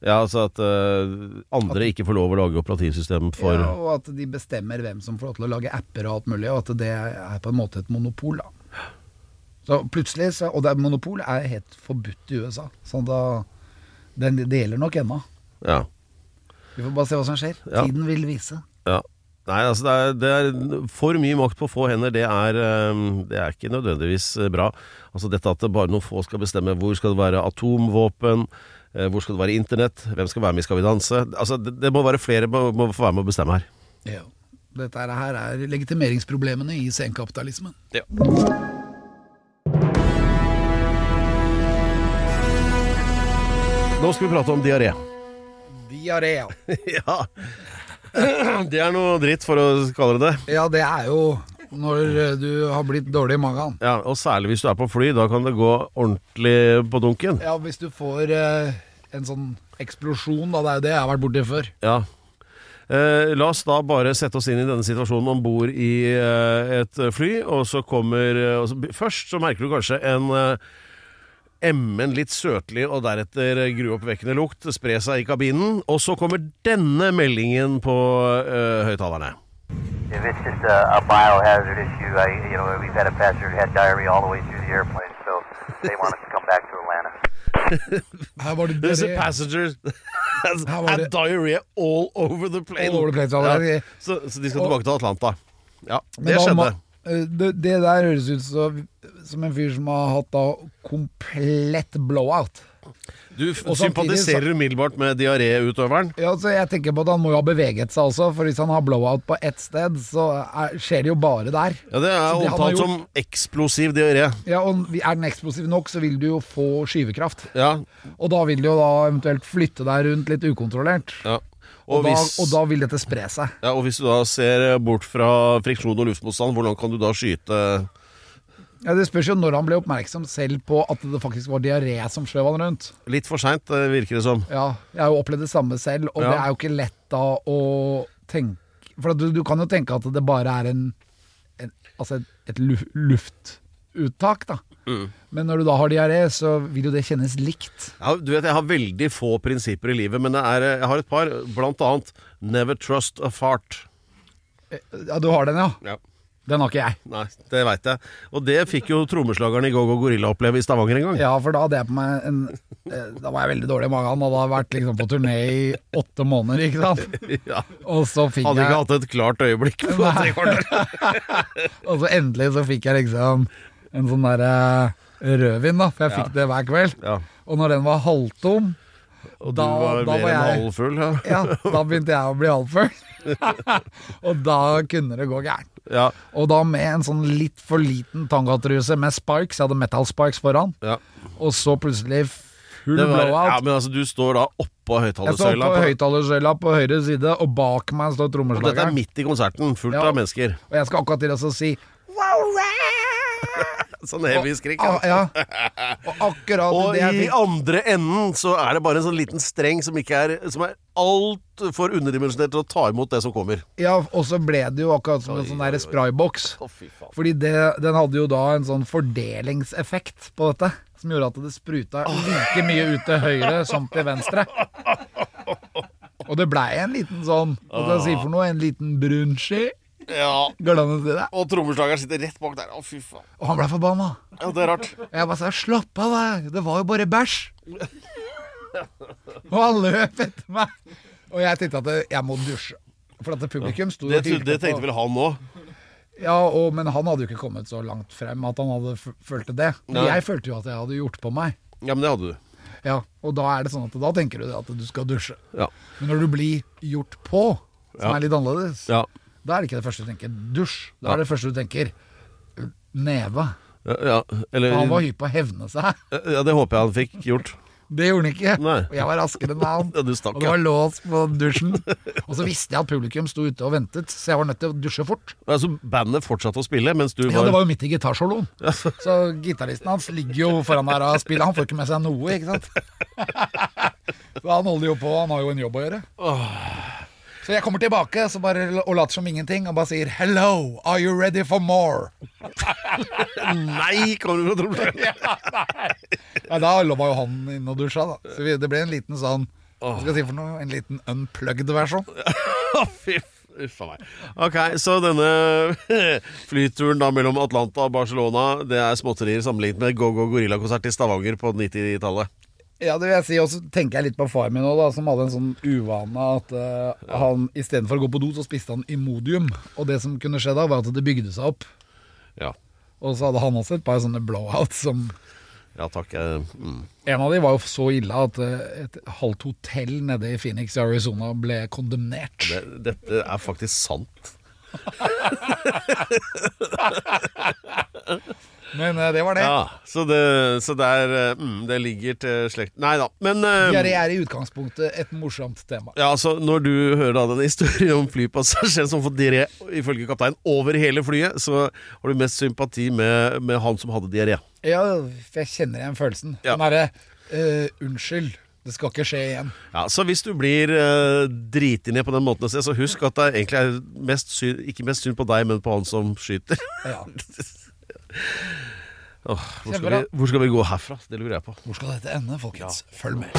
[SPEAKER 5] ja, altså at eh, andre ikke får lov å lage operativsystem for
[SPEAKER 6] Ja, og at de bestemmer hvem som får lov til å lage apper og alt mulig, og at det er på en måte et monopol, da. Så plutselig, så, og det er monopol er helt forbudt i USA, så da, den, det gjelder nok ennå.
[SPEAKER 5] Ja.
[SPEAKER 6] Vi får bare se hva som skjer.
[SPEAKER 5] Ja.
[SPEAKER 6] Tiden vil vise.
[SPEAKER 5] ja. Nei, altså det er, det er for mye makt på få hender. Det er, eh, det er ikke nødvendigvis eh, bra. Altså dette at det bare noen få skal bestemme hvor skal det være atomvåpen, eh, hvor skal det være internett, hvem skal være med i Skal vi danse. Altså det, det må være flere må, må få være med å bestemme her.
[SPEAKER 6] Ja. Dette her er legitimeringsproblemene i senkapitalismen.
[SPEAKER 5] Nå skal vi prate om diaré.
[SPEAKER 6] Diaré.
[SPEAKER 5] ja. Det er noe dritt, for å kalle det det.
[SPEAKER 6] Ja, det er jo når eh, du har blitt dårlig i magen.
[SPEAKER 5] Ja, og særlig hvis du er på fly, da kan det gå ordentlig på dunken.
[SPEAKER 6] Ja, hvis du får eh, en sånn eksplosjon, da, det er jo det jeg har vært borti før.
[SPEAKER 5] Ja. Eh, la oss da bare sette oss inn i denne situasjonen om bord i eh, et fly, og så kommer eh, og så, Først så merker du kanskje en eh, emmen, litt søtlig og deretter eh, gruoppvekkende lukt spre seg i kabinen, og så kommer denne meldingen på eh, høyttalerne.
[SPEAKER 8] If it's just a, a biohazard issue, I, you know, we've had a passenger who had diarrhea all the way through the airplane, so they want us to come back to Atlanta.
[SPEAKER 6] Her var det
[SPEAKER 5] There's a
[SPEAKER 6] diaré.
[SPEAKER 5] passenger has
[SPEAKER 6] Her var
[SPEAKER 5] had
[SPEAKER 6] det-
[SPEAKER 5] diarrhea all over the plane.
[SPEAKER 6] All over the plane, sa han.
[SPEAKER 5] ja. så, så de skal
[SPEAKER 6] Og-
[SPEAKER 5] tilbake til Atlanta. Ja,
[SPEAKER 6] Men
[SPEAKER 5] det
[SPEAKER 6] da
[SPEAKER 5] skjedde.
[SPEAKER 6] ma- eh, Det, det der høres ut som, som en fyr som har hatt da komplett blowout.
[SPEAKER 5] Du f-
[SPEAKER 6] Og samtidig så-
[SPEAKER 5] sympatiserer umiddelbart med diaréutøveren.
[SPEAKER 6] Ja, altså, jeg tenker på at Han må jo ha beveget seg også, for hvis han har blowout på ett sted, så er, skjer det jo bare der.
[SPEAKER 5] Ja, det er
[SPEAKER 6] Så det han har
[SPEAKER 5] omtalt som eksplosiv diaré.
[SPEAKER 6] Ja, og Er den eksplosiv nok, så vil du jo få skyvekraft.
[SPEAKER 5] Ja,
[SPEAKER 6] Og da vil du jo da eventuelt flytte deg rundt litt ukontrollert.
[SPEAKER 5] ja.
[SPEAKER 6] Og,
[SPEAKER 5] Og, hvis,
[SPEAKER 6] da, og da vil dette spre seg.
[SPEAKER 5] ja, og hvis du da ser bort fra friksjon og luftmotstand, hvordan kan du da skyte
[SPEAKER 6] Ja, Det spørs jo når han ble oppmerksom selv på at det faktisk var diaré som skjøv han rundt.
[SPEAKER 5] litt for seint, virker det som?
[SPEAKER 6] Ja, Jeg har jo opplevd det samme selv, og
[SPEAKER 5] Ja.
[SPEAKER 6] det er jo ikke lett da å tenke For at du, du kan jo tenke at det bare er en, en Altså et, et lu- luftuttak, da.
[SPEAKER 5] Mm.
[SPEAKER 6] Men når du da har diaré, så vil jo det kjennes likt.
[SPEAKER 5] Ja, du vet, Jeg har veldig få prinsipper i livet, men det er, eh, jeg har et par. Blant annet Never trust a fart.
[SPEAKER 6] Ja, Du har den, ja? Den har ikke jeg.
[SPEAKER 5] Nei, det veit jeg. Og det fikk jo trommeslageren i Go-Go Gorilla oppleve i Stavanger en gang.
[SPEAKER 6] Ja, for da hadde jeg på meg en eh, Da var jeg veldig dårlig i magen. og Da hadde jeg vært liksom på turné i åtte måneder, ikke sant.
[SPEAKER 5] Ja.
[SPEAKER 6] Og så fikk
[SPEAKER 5] Hadde ikke
[SPEAKER 6] jeg
[SPEAKER 5] hatt et klart øyeblikk på tre kvarter.
[SPEAKER 6] Og så endelig så fikk jeg liksom en sånn derre rødvin, da. For jeg fikk det hver kveld.
[SPEAKER 5] Ja.
[SPEAKER 6] Og når den var halvtom,
[SPEAKER 5] Og
[SPEAKER 6] Da-
[SPEAKER 5] du var
[SPEAKER 6] da
[SPEAKER 5] mer
[SPEAKER 6] var
[SPEAKER 5] enn
[SPEAKER 6] jeg-
[SPEAKER 5] halvfull. Ja.
[SPEAKER 6] ja, da begynte jeg å bli halvfull. og da kunne det gå gærent.
[SPEAKER 5] Ja,
[SPEAKER 6] Og da med en sånn litt for liten tangatruse med spikes, jeg hadde metal spikes foran,
[SPEAKER 5] ja.
[SPEAKER 6] og så plutselig full
[SPEAKER 5] Det var, ja,
[SPEAKER 6] blowout.
[SPEAKER 5] men altså, du står da oppå
[SPEAKER 6] jeg står
[SPEAKER 5] høyttalersøyla.
[SPEAKER 6] på
[SPEAKER 5] på-
[SPEAKER 6] høyttalersøyla på høyre side, og bak meg står
[SPEAKER 5] Og Dette er
[SPEAKER 6] trommeslageren.
[SPEAKER 5] midt i konserten, fullt
[SPEAKER 6] Ja.
[SPEAKER 5] av mennesker.
[SPEAKER 6] Og jeg skal akkurat til å si
[SPEAKER 5] Sånn heavy skrik.
[SPEAKER 6] ah,
[SPEAKER 5] Ja.
[SPEAKER 6] ja. Og akkurat
[SPEAKER 5] Og
[SPEAKER 6] det jeg
[SPEAKER 5] i
[SPEAKER 6] fikk
[SPEAKER 5] andre enden så er det bare en sånn liten streng som, ikke er, som er altfor underdimensjonert til å ta imot det som kommer.
[SPEAKER 6] Ja, og så ble det jo akkurat som en sånn der sprayboks.
[SPEAKER 5] fy faen.
[SPEAKER 6] Fordi det, den hadde jo da en sånn fordelingseffekt på dette, som gjorde at det spruta like mye ut til høyre som til venstre. Og det blei en liten sånn, hva skal jeg si for noe, en liten brun sky.
[SPEAKER 5] Ja,
[SPEAKER 6] Går det an å si det?
[SPEAKER 5] Og trommeslageren sitter rett bak der. Å, fy faen.
[SPEAKER 6] Og han blei forbanna.
[SPEAKER 5] Ja, det er rart.
[SPEAKER 6] Og jeg bare sa 'slapp av, deg, det var jo bare bæsj'. Og han løp etter meg. Og jeg tenkte at jeg må dusje. For at publikum sto
[SPEAKER 5] Det,
[SPEAKER 6] og
[SPEAKER 5] trodde-
[SPEAKER 6] hylte
[SPEAKER 5] det
[SPEAKER 6] på.
[SPEAKER 5] tenkte vel han òg.
[SPEAKER 6] Ja, og, men han hadde jo ikke kommet så langt frem at han hadde f- følte det. Men
[SPEAKER 5] Nei.
[SPEAKER 6] jeg følte jo at jeg hadde gjort på meg.
[SPEAKER 5] Ja, men det hadde du.
[SPEAKER 6] Ja, Og da er det sånn at da tenker du det at du skal dusje.
[SPEAKER 5] Ja.
[SPEAKER 6] Men når du blir gjort på, som
[SPEAKER 5] Ja.
[SPEAKER 6] er litt annerledes,
[SPEAKER 5] Ja.
[SPEAKER 6] da er det ikke det første du tenker dusj. Da
[SPEAKER 5] Ja.
[SPEAKER 6] er det første du tenker neve.
[SPEAKER 5] Ja, ja. Eller
[SPEAKER 6] For han var hypp på å hevne seg.
[SPEAKER 5] Ja, det håper jeg han fikk gjort.
[SPEAKER 6] Det gjorde han ikke.
[SPEAKER 5] Nei.
[SPEAKER 6] Og jeg var raskere enn han.
[SPEAKER 5] Ja, du stakk,
[SPEAKER 6] og det
[SPEAKER 5] ja.
[SPEAKER 6] var lås på dusjen. Og så visste jeg at publikum sto ute og ventet, så jeg var nødt til å dusje fort.
[SPEAKER 5] Altså, bandet fortsatte å spille mens du
[SPEAKER 6] Ja,
[SPEAKER 5] var
[SPEAKER 6] det var jo midt i gitarsoloen. Så gitaristen hans ligger jo foran der og spiller. Han får ikke med seg noe, ikke sant? Så han holder jo på, han har jo en jobb å gjøre. Så jeg kommer tilbake så bare, og later som ingenting og bare sier 'Hello, are you ready for more?'
[SPEAKER 5] Nei, kommer du fra trommeslageren?
[SPEAKER 6] Nei, da var jo han inne og dusja, da. Så vi- det ble en liten sånn hva skal jeg si for noe? En liten unplugged versjon.
[SPEAKER 5] Å, fy f- Uff a meg. Ok, så denne flyturen da mellom Atlanta og Barcelona, det er småtterier sammenlignet med Go-Go Gorilla-konsert i Stavanger på 90-tallet.
[SPEAKER 6] Ja, det vil jeg si. Og så tenker jeg litt på far min nå, da, som hadde en sånn uvane at eh, han istedenfor å gå på do, så spiste han Imodium. Og det som kunne skje da, var at det bygde seg opp.
[SPEAKER 5] Ja.
[SPEAKER 6] Og så hadde han også et par sånne blowouts som
[SPEAKER 5] ja, takk. eh, Mm.
[SPEAKER 6] En av de var jo så ille at eh, et halvt hotell nede i Phoenix i Arizona ble kondemnert.
[SPEAKER 5] Det, dette er faktisk sant.
[SPEAKER 6] Men eh, det var det.
[SPEAKER 5] Ja, så det, så det er eh, mm, Det ligger til slekt Nei da, men eh,
[SPEAKER 6] Diaré er i utgangspunktet et morsomt tema.
[SPEAKER 5] ja, altså, Når du hører da den historien om flypassasjeren som får diaré, ifølge kapteinen, over hele flyet, så har du mest sympati med, med han som hadde diaré.
[SPEAKER 6] Ja, for jeg kjenner igjen følelsen.
[SPEAKER 5] Ja.
[SPEAKER 6] Den derre eh, Unnskyld, det skal ikke skje igjen.
[SPEAKER 5] Ja, så hvis du blir uh, driti ned på den måten, å se, så husk at det egentlig er mest synd, ikke mest synd på deg, men på han som skyter.
[SPEAKER 6] Ja.
[SPEAKER 5] Åh, hvor, skal vi,
[SPEAKER 6] Kjempebra.
[SPEAKER 5] hvor skal vi gå herfra? Det lurer jeg på.
[SPEAKER 6] Hvor skal dette ende, folkens? Følg med.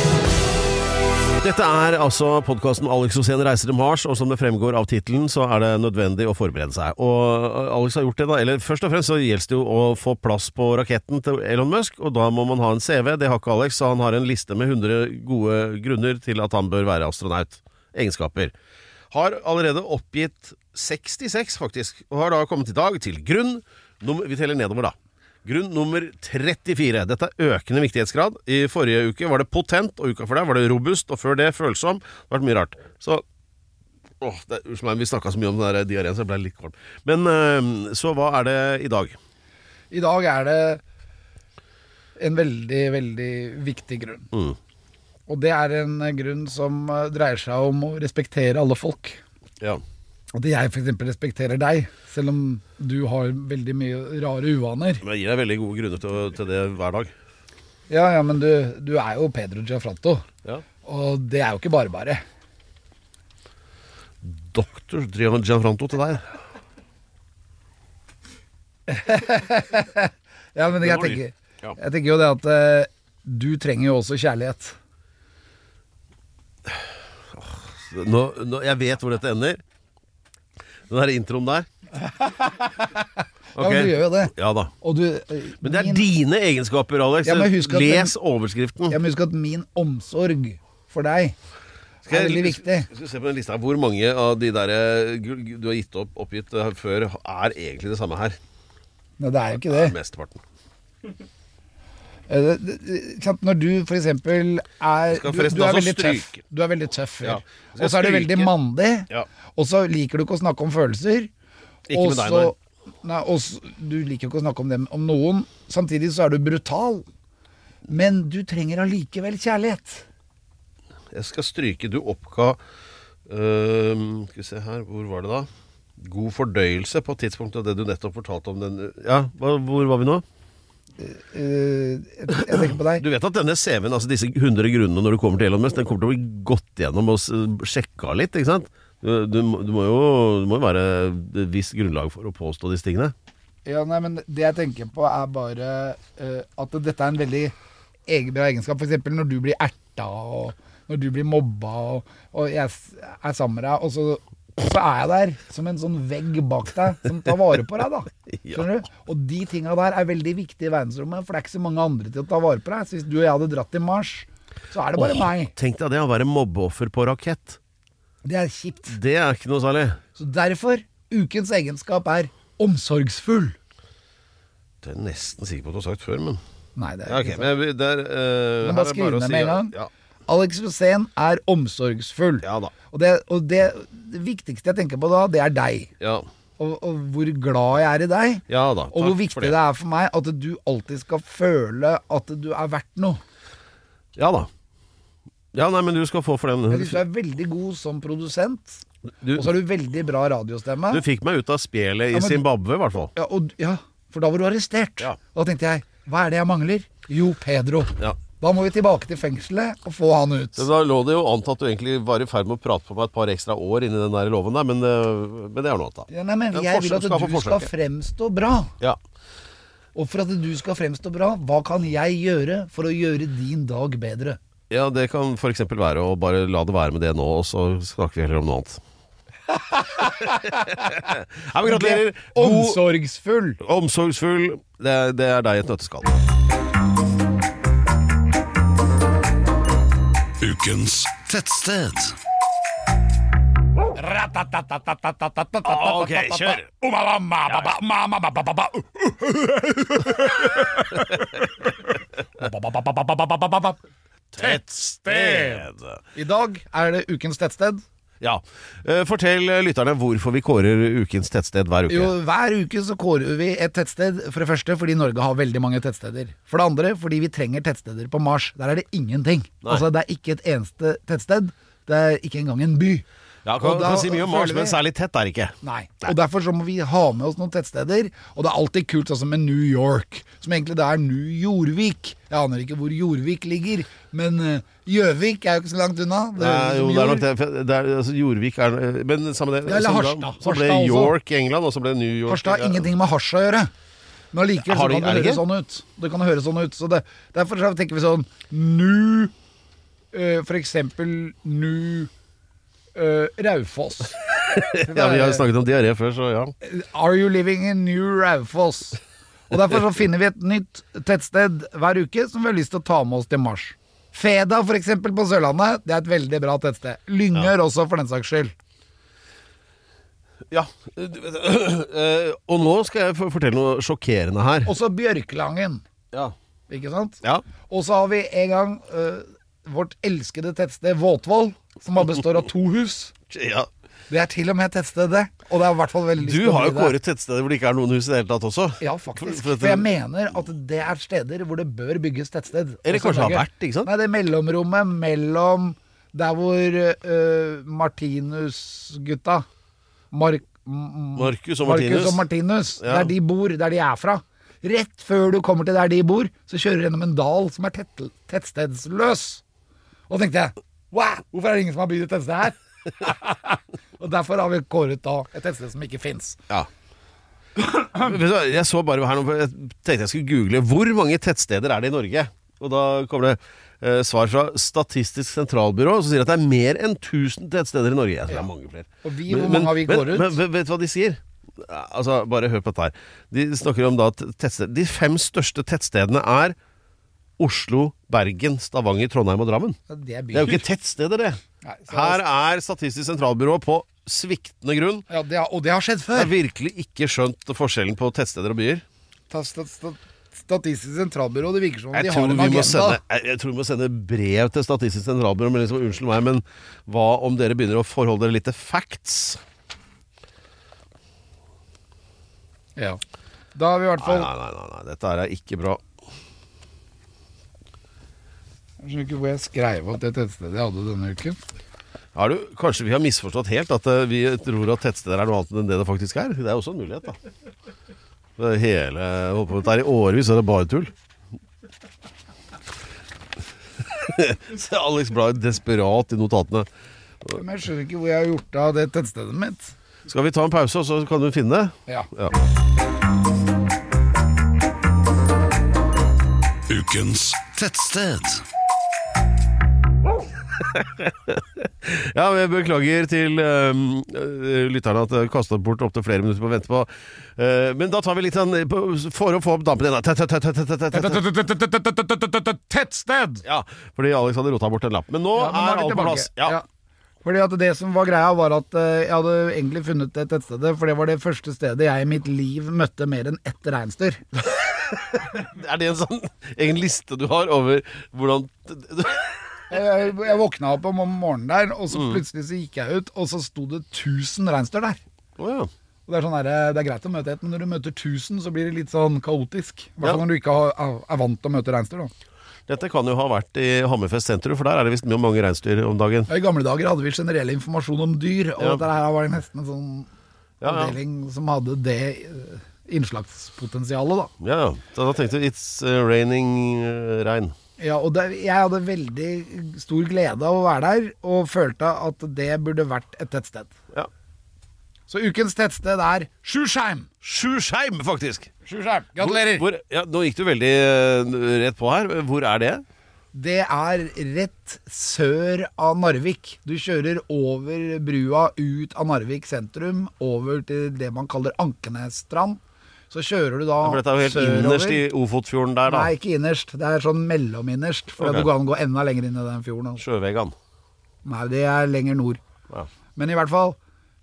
[SPEAKER 5] Dette er altså podkasten Alex Osen reiser til Mars, og som det fremgår av tittelen, så er det nødvendig å forberede seg. Og eh, Alex har gjort det, da. Eller først og fremst så gjelder det jo å få plass på raketten til Elon Musk, og da må man ha en CV. Det har ikke Alex, så han har en liste med 100 gode grunner til at han bør være astronaut. Egenskaper. Har allerede oppgitt 66, faktisk, og har da kommet i dag til grunn nummer, Vi teller nedover, da. Grunn nummer 34. Dette er økende viktighetsgrad. I forrige uke var det potent, og uka før der var det robust, og før det følsom. Det har vært mye rart. Så Åh, det er- Unnskyld meg, vi snakka så mye om den der diareen, så jeg ble litt kvalm. Men eh, så hva er det i dag?
[SPEAKER 6] I dag er det en veldig, veldig viktig grunn.
[SPEAKER 5] Mm.
[SPEAKER 6] Og det er en grunn som eh, dreier seg om å respektere alle folk.
[SPEAKER 5] Ja.
[SPEAKER 6] At jeg f.eks. respekterer deg, selv om du har veldig mye rare uvaner.
[SPEAKER 5] Men jeg gir deg veldig gode grunner til, å- til det hver dag.
[SPEAKER 6] Ja, ja, men du, du er jo Pedro Giafranto,
[SPEAKER 5] Ja.
[SPEAKER 6] og det er jo ikke bare bare.
[SPEAKER 5] Doktor Gianfranto til deg.
[SPEAKER 6] Ja, men jeg
[SPEAKER 5] var ny.
[SPEAKER 6] tenker,
[SPEAKER 5] Ja.
[SPEAKER 6] jeg tenker jo det at eh, du trenger jo også kjærlighet.
[SPEAKER 5] Nå, nå, jeg vet hvor dette ender. Den der introen der.
[SPEAKER 6] Ja, men du gjør jo det.
[SPEAKER 5] Ja da.
[SPEAKER 6] Og du, eh,
[SPEAKER 5] Men det er
[SPEAKER 6] min-
[SPEAKER 5] dine egenskaper, Alex.
[SPEAKER 6] Ja, men husk at
[SPEAKER 5] Les
[SPEAKER 6] den-
[SPEAKER 5] overskriften.
[SPEAKER 6] Jeg må huske at min omsorg for deg er veldig viktig.
[SPEAKER 5] Skal vi se på den lista her. Hvor mange av de der eh, gu- gu- du har gitt opp, oppgitt eh, før, er egentlig det samme her?
[SPEAKER 6] Nei, det er jo ikke det.
[SPEAKER 5] Mesteparten.
[SPEAKER 6] Eh, det- det- det- sant, Når du for eksempel er
[SPEAKER 5] Skal
[SPEAKER 6] du,
[SPEAKER 5] forresten
[SPEAKER 6] du er
[SPEAKER 5] også
[SPEAKER 6] veldig tøff.
[SPEAKER 5] stryke.
[SPEAKER 6] Du er veldig tøff, ja.
[SPEAKER 5] Ja. Skal
[SPEAKER 6] Og så er du
[SPEAKER 5] stryke.
[SPEAKER 6] veldig mandig.
[SPEAKER 5] Ja.
[SPEAKER 6] Og så liker du ikke å snakke om følelser.
[SPEAKER 5] Ikke
[SPEAKER 6] og
[SPEAKER 5] med deg,
[SPEAKER 6] så- Nei, og s- du liker ikke å snakke om dem om noen. Samtidig så er du brutal. Men du trenger allikevel kjærlighet.
[SPEAKER 5] Jeg skal stryke. Du oppga øhm, Skal vi se her, hvor var det da? God fordøyelse på tidspunktet av det du nettopp fortalte om den Ja, hva, hvor var vi nå?
[SPEAKER 6] Eh, jeg, jeg tenker på deg.
[SPEAKER 5] Du vet at denne CV-en, altså disse 100 grunnene når du kommer til Elon Musk, den kommer til å bli gått gjennom og s- sjekka litt, ikke sant? Du, du, må- du må jo du må jo være et visst grunnlag for å påstå disse tingene.
[SPEAKER 6] Ja, nei, men Det jeg tenker på, er bare eh, at dette er en veldig egen, bra egenskap. F.eks. når du blir erta, og når du blir mobba, og, og jeg s- er sammen med deg, og så, så er jeg der som en sånn vegg bak deg som tar vare på deg. da Skjønner du? Og de tinga der er veldig viktige i verdensrommet, for det er ikke så mange andre til å ta vare på deg. Så hvis du og jeg hadde dratt til Mars, så er det bare meg.
[SPEAKER 5] Tenk deg det, å være mobbeoffer på rakett.
[SPEAKER 6] Det er kjipt.
[SPEAKER 5] Det er ikke noe særlig.
[SPEAKER 6] Så derfor, ukens egenskap er omsorgsfull.
[SPEAKER 5] Det er jeg nesten sikker på at du har sagt før, men
[SPEAKER 6] Nei, det
[SPEAKER 5] Ja,
[SPEAKER 6] er
[SPEAKER 5] ok,
[SPEAKER 6] ikke sant.
[SPEAKER 5] men jeg, vil- der, øh,
[SPEAKER 6] Men
[SPEAKER 5] her
[SPEAKER 6] bare
[SPEAKER 5] er
[SPEAKER 6] skriv
[SPEAKER 5] å
[SPEAKER 6] ned
[SPEAKER 5] si-
[SPEAKER 6] med en gang.
[SPEAKER 5] Ja,
[SPEAKER 6] Alex Rosén er omsorgsfull.
[SPEAKER 5] ja da.
[SPEAKER 6] Og, det, og det, det viktigste jeg tenker på da, det er deg.
[SPEAKER 5] Ja,
[SPEAKER 6] Og, og hvor glad jeg er i deg.
[SPEAKER 5] ja da.
[SPEAKER 6] Og hvor viktig det. er for meg at du alltid skal føle at du er verdt noe.
[SPEAKER 5] Ja da. Ja, nei, men du skal få for den.
[SPEAKER 6] Jeg synes du er veldig god som produsent,
[SPEAKER 5] Du,
[SPEAKER 6] og så har du veldig bra radiostemme.
[SPEAKER 5] du fikk meg ut av spelet i
[SPEAKER 6] Ja, men-
[SPEAKER 5] Zimbabwe, i hvert fall.
[SPEAKER 6] Ja, og, ja, for da var du arrestert.
[SPEAKER 5] Ja.
[SPEAKER 6] Og da tenkte jeg, hva er det jeg mangler? Jo, Pedro.
[SPEAKER 5] Ja.
[SPEAKER 6] Da må vi tilbake til fengselet og få han ut.
[SPEAKER 5] Så Da lå det jo an til at du egentlig var i ferd med å prate på meg et par ekstra år inni den der loven der, men, øh, men det er noe annet, da.
[SPEAKER 6] Ja, nei, men
[SPEAKER 5] Ja,
[SPEAKER 6] jeg
[SPEAKER 5] forsk-
[SPEAKER 6] vil at
[SPEAKER 5] skal få
[SPEAKER 6] du skal
[SPEAKER 5] forsøke.
[SPEAKER 6] fremstå bra.
[SPEAKER 5] Ja.
[SPEAKER 6] Og for at du skal fremstå bra, hva kan jeg gjøre for å gjøre din dag bedre?
[SPEAKER 5] ja, det kan f.eks. være å bare la det være med det nå, og så snakker vi heller om noe annet. Nei, men gratulerer. God,
[SPEAKER 6] Omsorgsfull.
[SPEAKER 5] omsorgsfull. Det, er- det er deg i et nøtteskall.
[SPEAKER 2] Ukens
[SPEAKER 5] Tettsted.
[SPEAKER 6] Ah, Ok, kjør.
[SPEAKER 5] Tettsted.
[SPEAKER 6] I dag er det ukens tettsted.
[SPEAKER 5] Ja. Eh, Fortell eh, lytterne hvorfor vi kårer ukens tettsted hver uke.
[SPEAKER 6] Jo, hver uke så kårer vi et tettsted. For det første fordi Norge har veldig mange tettsteder. For det andre fordi vi trenger tettsteder på Mars. Der er det ingenting. Altså, det er ikke et eneste tettsted. Det er ikke engang en by.
[SPEAKER 5] Ja, kan,
[SPEAKER 6] Og da
[SPEAKER 5] kan si mye om Mars,
[SPEAKER 6] føler vi-
[SPEAKER 5] men særlig tett er det ikke.
[SPEAKER 6] Nei. Og derfor så må vi ha med oss noen tettsteder. Og det er alltid kult, sånn som med New York, som egentlig det er New Jorvik. Jeg aner ikke hvor Jorvik ligger, men eh, Gjøvik er jo ikke så langt unna. Det
[SPEAKER 5] Nei,
[SPEAKER 6] høres ut
[SPEAKER 5] Eh, jo,
[SPEAKER 6] som
[SPEAKER 5] det er
[SPEAKER 6] jord.
[SPEAKER 5] nok det. for det er, altså, Jorvik er Men samme det.
[SPEAKER 6] Ja, eller
[SPEAKER 5] som da-
[SPEAKER 6] Harstad.
[SPEAKER 5] Så ble
[SPEAKER 6] Harstad også.
[SPEAKER 5] York i England, og så ble New York
[SPEAKER 6] Harstad
[SPEAKER 5] ja.
[SPEAKER 6] har ingenting med hasj å gjøre. Men allikevel så
[SPEAKER 5] Har det-
[SPEAKER 6] kan det
[SPEAKER 5] er det
[SPEAKER 6] høres
[SPEAKER 5] ikke?
[SPEAKER 6] sånn ut. Det kan høres sånn ut. Så det, derfor så tenker vi sånn Nu eh, For eksempel Nu eh, Raufoss.
[SPEAKER 5] Ja, vi har jo snakket om diaré før, så ja.
[SPEAKER 6] Are you living in New Raufoss? Og derfor så finner vi et nytt tettsted hver uke som vi har lyst til å ta med oss til Mars. Feda for eksempel på Sørlandet, det er et veldig bra tettsted. Lyngør også for den saks skyld.
[SPEAKER 5] Ja. Eh, Og nå skal jeg for- fortelle noe sjokkerende her.
[SPEAKER 6] Også Bjørklangen,
[SPEAKER 5] Ja.
[SPEAKER 6] ikke sant?
[SPEAKER 5] Ja.
[SPEAKER 6] Og så har vi en gang eh, vårt elskede tettsted Våtvoll, som bare består av to hus. Det er til og med tettstedet, og det er i hvert fall veldig lyst
[SPEAKER 5] Du
[SPEAKER 6] til å
[SPEAKER 5] har jo
[SPEAKER 6] bli der.
[SPEAKER 5] kåret tettsteder hvor det ikke er noen hus i det hele tatt også.
[SPEAKER 6] Ja, faktisk.
[SPEAKER 5] For- for
[SPEAKER 6] For,
[SPEAKER 5] dette-
[SPEAKER 6] jeg mener at det er steder hvor det bør bygges Altså, tettsted.
[SPEAKER 5] Eller
[SPEAKER 6] Også i
[SPEAKER 5] kanskje har
[SPEAKER 6] Norge.
[SPEAKER 5] vært, ikke sant?
[SPEAKER 6] Nei, det er mellomrommet mellom der hvor eh, Martinus-gutta Mark, m-
[SPEAKER 5] Marcus og
[SPEAKER 6] Marcus
[SPEAKER 5] Martinus.
[SPEAKER 6] og Martinus,
[SPEAKER 5] Ja.
[SPEAKER 6] der de bor, der de er fra. Rett før du kommer til der de bor, så kjører du gjennom en dal som er tett, tettstedsløs. Og tenkte jeg wow, hvorfor er det ingen som har bygd et tettsted her? og derfor har vi kåret da et tettsted som ikke fins.
[SPEAKER 5] Ja. Vet du hva, Jeg så bare her nå, for jeg tenkte jeg skulle google hvor mange tettsteder er det i Norge. Og da kommer det eh, svar fra Statistisk sentralbyrå, som sier at det er mer enn 1000 tettsteder i Norge. Jeg tror det er mange flere.
[SPEAKER 6] Og vi, hvor mange har vi
[SPEAKER 5] men,
[SPEAKER 6] går ut?
[SPEAKER 5] Men, men vet du hva de sier? Ja, Altså, Bare hør på dette her. De snakker om da at tettsted- De fem største tettstedene er Oslo, Bergen, Stavanger, Trondheim og Drammen.
[SPEAKER 6] Ja, Det er
[SPEAKER 5] Det er jo
[SPEAKER 6] byer.
[SPEAKER 5] ikke tettsteder, det.
[SPEAKER 6] Nei, så-
[SPEAKER 5] Her er Statistisk sentralbyrå på sviktende grunn.
[SPEAKER 6] Ja, det har, og det har skjedd
[SPEAKER 5] Jeg har
[SPEAKER 6] før.
[SPEAKER 5] virkelig ikke skjønt forskjellen på tettsteder og byer.
[SPEAKER 6] Ta- sta- sta- Statistisk sentralbyrå, det virker som om
[SPEAKER 5] Jeg
[SPEAKER 6] de
[SPEAKER 5] tror,
[SPEAKER 6] har en
[SPEAKER 5] vi må
[SPEAKER 6] agenda.
[SPEAKER 5] sende, jeg, jeg tror vi må sende brev til Statistisk sentralbyrå med liksom 'unnskyld meg, men hva om dere begynner å forholde dere litt til facts'?
[SPEAKER 6] Ja. Da har vi i hvert
[SPEAKER 5] Nei,
[SPEAKER 6] fall
[SPEAKER 5] nei, nei, nei, nei dette her er ikke bra.
[SPEAKER 6] Jeg skjønner ikke hvor jeg skrev opp det tettstedet jeg hadde denne uken.
[SPEAKER 5] Har du, kanskje vi har misforstått helt at eh, vi tror at tettsteder er noe annet enn det det faktisk er? Det er også en mulighet, da. Det er hele jeg holdt på med dette her i årevis, er det bare tull. Se Alex Blar desperat i notatene.
[SPEAKER 6] Men jeg skjønner ikke hvor jeg har gjort av det tettstedet mitt.
[SPEAKER 5] Skal vi ta en pause, og så kan du finne det?
[SPEAKER 6] Ja.
[SPEAKER 5] Ja.
[SPEAKER 9] Ukens tettsted.
[SPEAKER 5] Ja, men jeg beklager til øhm, øh, lytterne at jeg kastet bort opptil flere minutter på å vente på. Eh, men da tar vi litt sånn på- For å få opp dampen igjen. da. Tett, tett, tett, tett, tett, tett, tett.
[SPEAKER 6] Tettsted!
[SPEAKER 5] Ja, fordi Alex hadde rota bort en lapp. Men nå
[SPEAKER 6] Ja, men da
[SPEAKER 5] er alt på
[SPEAKER 6] tilbake.
[SPEAKER 5] plass. Ja.
[SPEAKER 6] Ja. Fordi at Det som var greia, var at eh, jeg hadde egentlig funnet det tettstedet, for det var det første stedet jeg i mitt liv møtte mer enn ett reinsdyr.
[SPEAKER 5] Er det en sånn egen liste du har over hvordan
[SPEAKER 6] Jeg, jeg våkna opp om morgenen der, og så
[SPEAKER 5] Mm.
[SPEAKER 6] plutselig så gikk jeg ut, og så sto det 1000 reinsdyr der.
[SPEAKER 5] Å ja.
[SPEAKER 6] Og det, er sånn der, det er greit å møte ett, men når du møter 1000, så blir det litt sånn kaotisk. I hvert
[SPEAKER 5] Ja.
[SPEAKER 6] fall når du ikke har, er- er vant til å møte reinsdyr. da.
[SPEAKER 5] Dette kan jo ha vært i Hammerfest sentrum, for der er det visst mye- mange reinsdyr om dagen.
[SPEAKER 6] Ja, I gamle dager hadde vi generell informasjon om dyr, og
[SPEAKER 5] Ja.
[SPEAKER 6] dette her var nesten en sånn
[SPEAKER 5] Ja, ja.
[SPEAKER 6] avdeling som hadde det eh, innslagspotensialet. da.
[SPEAKER 5] ja, ja. Så da tenkte jeg 'it's eh, raining eh, regn'.
[SPEAKER 6] Ja, og det, Jeg hadde veldig stor glede av å være der, og følte at det burde vært et tettsted.
[SPEAKER 5] Ja.
[SPEAKER 6] Så ukens tettsted er Sjursheim!
[SPEAKER 5] Sjursheim, faktisk!
[SPEAKER 6] Sjursheim, Gratulerer!
[SPEAKER 5] Hvor, ja, nå gikk du veldig eh, rett på her. Hvor er det?
[SPEAKER 6] Det er rett sør av Narvik. Du kjører over brua ut av Narvik sentrum, over til det man kaller Ankenesstrand. Så kjører du da
[SPEAKER 5] For dette er jo helt innerst i Ofotfjorden der, da.
[SPEAKER 6] Ah, Nei, ikke innerst. Det er sånn mellominnerst. For
[SPEAKER 5] Ok.
[SPEAKER 6] det går an å gå enda lenger inn i den fjorden. Altså.
[SPEAKER 5] Sjøvegan.
[SPEAKER 6] Nei, det er lenger nord.
[SPEAKER 5] Ja.
[SPEAKER 6] Men i hvert fall,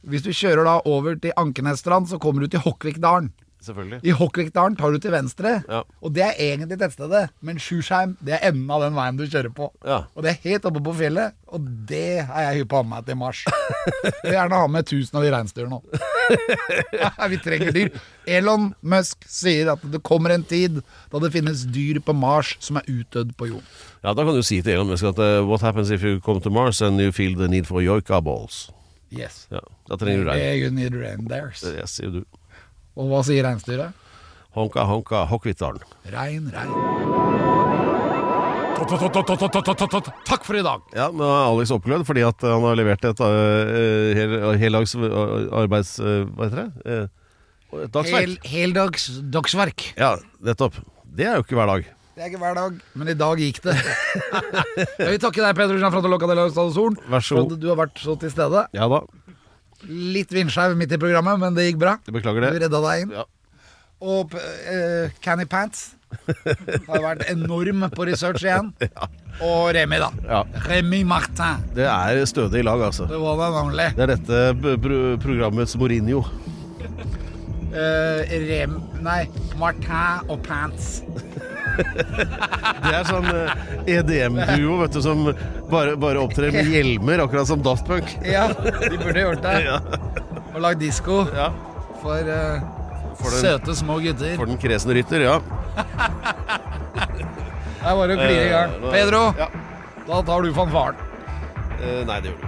[SPEAKER 6] hvis du kjører da over til Ankenesstrand, så kommer du til Hokkvikdalen.
[SPEAKER 5] Selvfølgelig.
[SPEAKER 6] I Hokkvikdalen tar du til venstre,
[SPEAKER 5] Ja.
[SPEAKER 6] og det er egentlig tettstedet, men Sjursheim det er enden av den veien du kjører på.
[SPEAKER 5] Ja.
[SPEAKER 6] Og det er helt oppe på fjellet, og det har jeg hypp på meg til mars. Jeg vil gjerne ha med 1000 av de reinsdyrene nå. Vi trenger dyr. Elon Musk sier at det kommer en tid da det finnes dyr på Mars som er utdødd på jorden.
[SPEAKER 5] Ja, da kan du si til Elon Musk at eh, What happens if you come to Mars and you feel the need for joika balls?
[SPEAKER 6] Yes.
[SPEAKER 5] Ja, da trenger du deg.
[SPEAKER 6] Eh, You need reindeers.
[SPEAKER 5] Det sier du.
[SPEAKER 6] Og hva sier reinsdyret?
[SPEAKER 5] Honka, honka, Hokkvittdalen.
[SPEAKER 6] Rein, rein. Takk for i dag.
[SPEAKER 5] Ja, nå er Alex oppglødd fordi at han har levert et eh, hel, heldags eh, arbeids... eh, hva heter det? Eh, et dagsverk.
[SPEAKER 6] Hel, heldags dagsverk.
[SPEAKER 5] Ja, nettopp. Det er jo ikke hver dag.
[SPEAKER 6] Det er ikke hver dag, men i dag gikk det. Jeg vil takke deg, Peder Jean fra Tolokka del Solen,
[SPEAKER 5] Vær så god.
[SPEAKER 6] for at du har vært så til stede.
[SPEAKER 5] Ja da,
[SPEAKER 6] Litt vindskeiv midt i programmet, men det gikk bra.
[SPEAKER 5] jeg beklager
[SPEAKER 6] Du
[SPEAKER 5] det.
[SPEAKER 6] redda deg inn.
[SPEAKER 5] Ja.
[SPEAKER 6] Og eh, Canny Pants, Har vært enorm på research igjen. Og Remi, da.
[SPEAKER 5] Ja.
[SPEAKER 6] Remi Martin.
[SPEAKER 5] Det er stødig lag, altså.
[SPEAKER 6] Det var det navnlig.
[SPEAKER 5] Det er dette b- br- programmets Mourinho.
[SPEAKER 6] Eh, Rem... Nei, Martin og Pants.
[SPEAKER 5] Det er sånn eh, EDM-duo vet du, som bare, bare opptrer med hjelmer, akkurat som Daft Punk.
[SPEAKER 6] Ja, de burde gjort det.
[SPEAKER 5] Ja.
[SPEAKER 6] Og lagd disko
[SPEAKER 5] Ja.
[SPEAKER 6] for, eh,
[SPEAKER 5] For den-
[SPEAKER 6] søte små gutter.
[SPEAKER 5] For den kresne rytter, ja.
[SPEAKER 6] Det er bare å klire i
[SPEAKER 5] Eh,
[SPEAKER 6] gang.
[SPEAKER 5] nå er-
[SPEAKER 6] Pedro,
[SPEAKER 5] Ja.
[SPEAKER 6] da tar du fanfaren.
[SPEAKER 5] Eh, Nei, det gjorde du.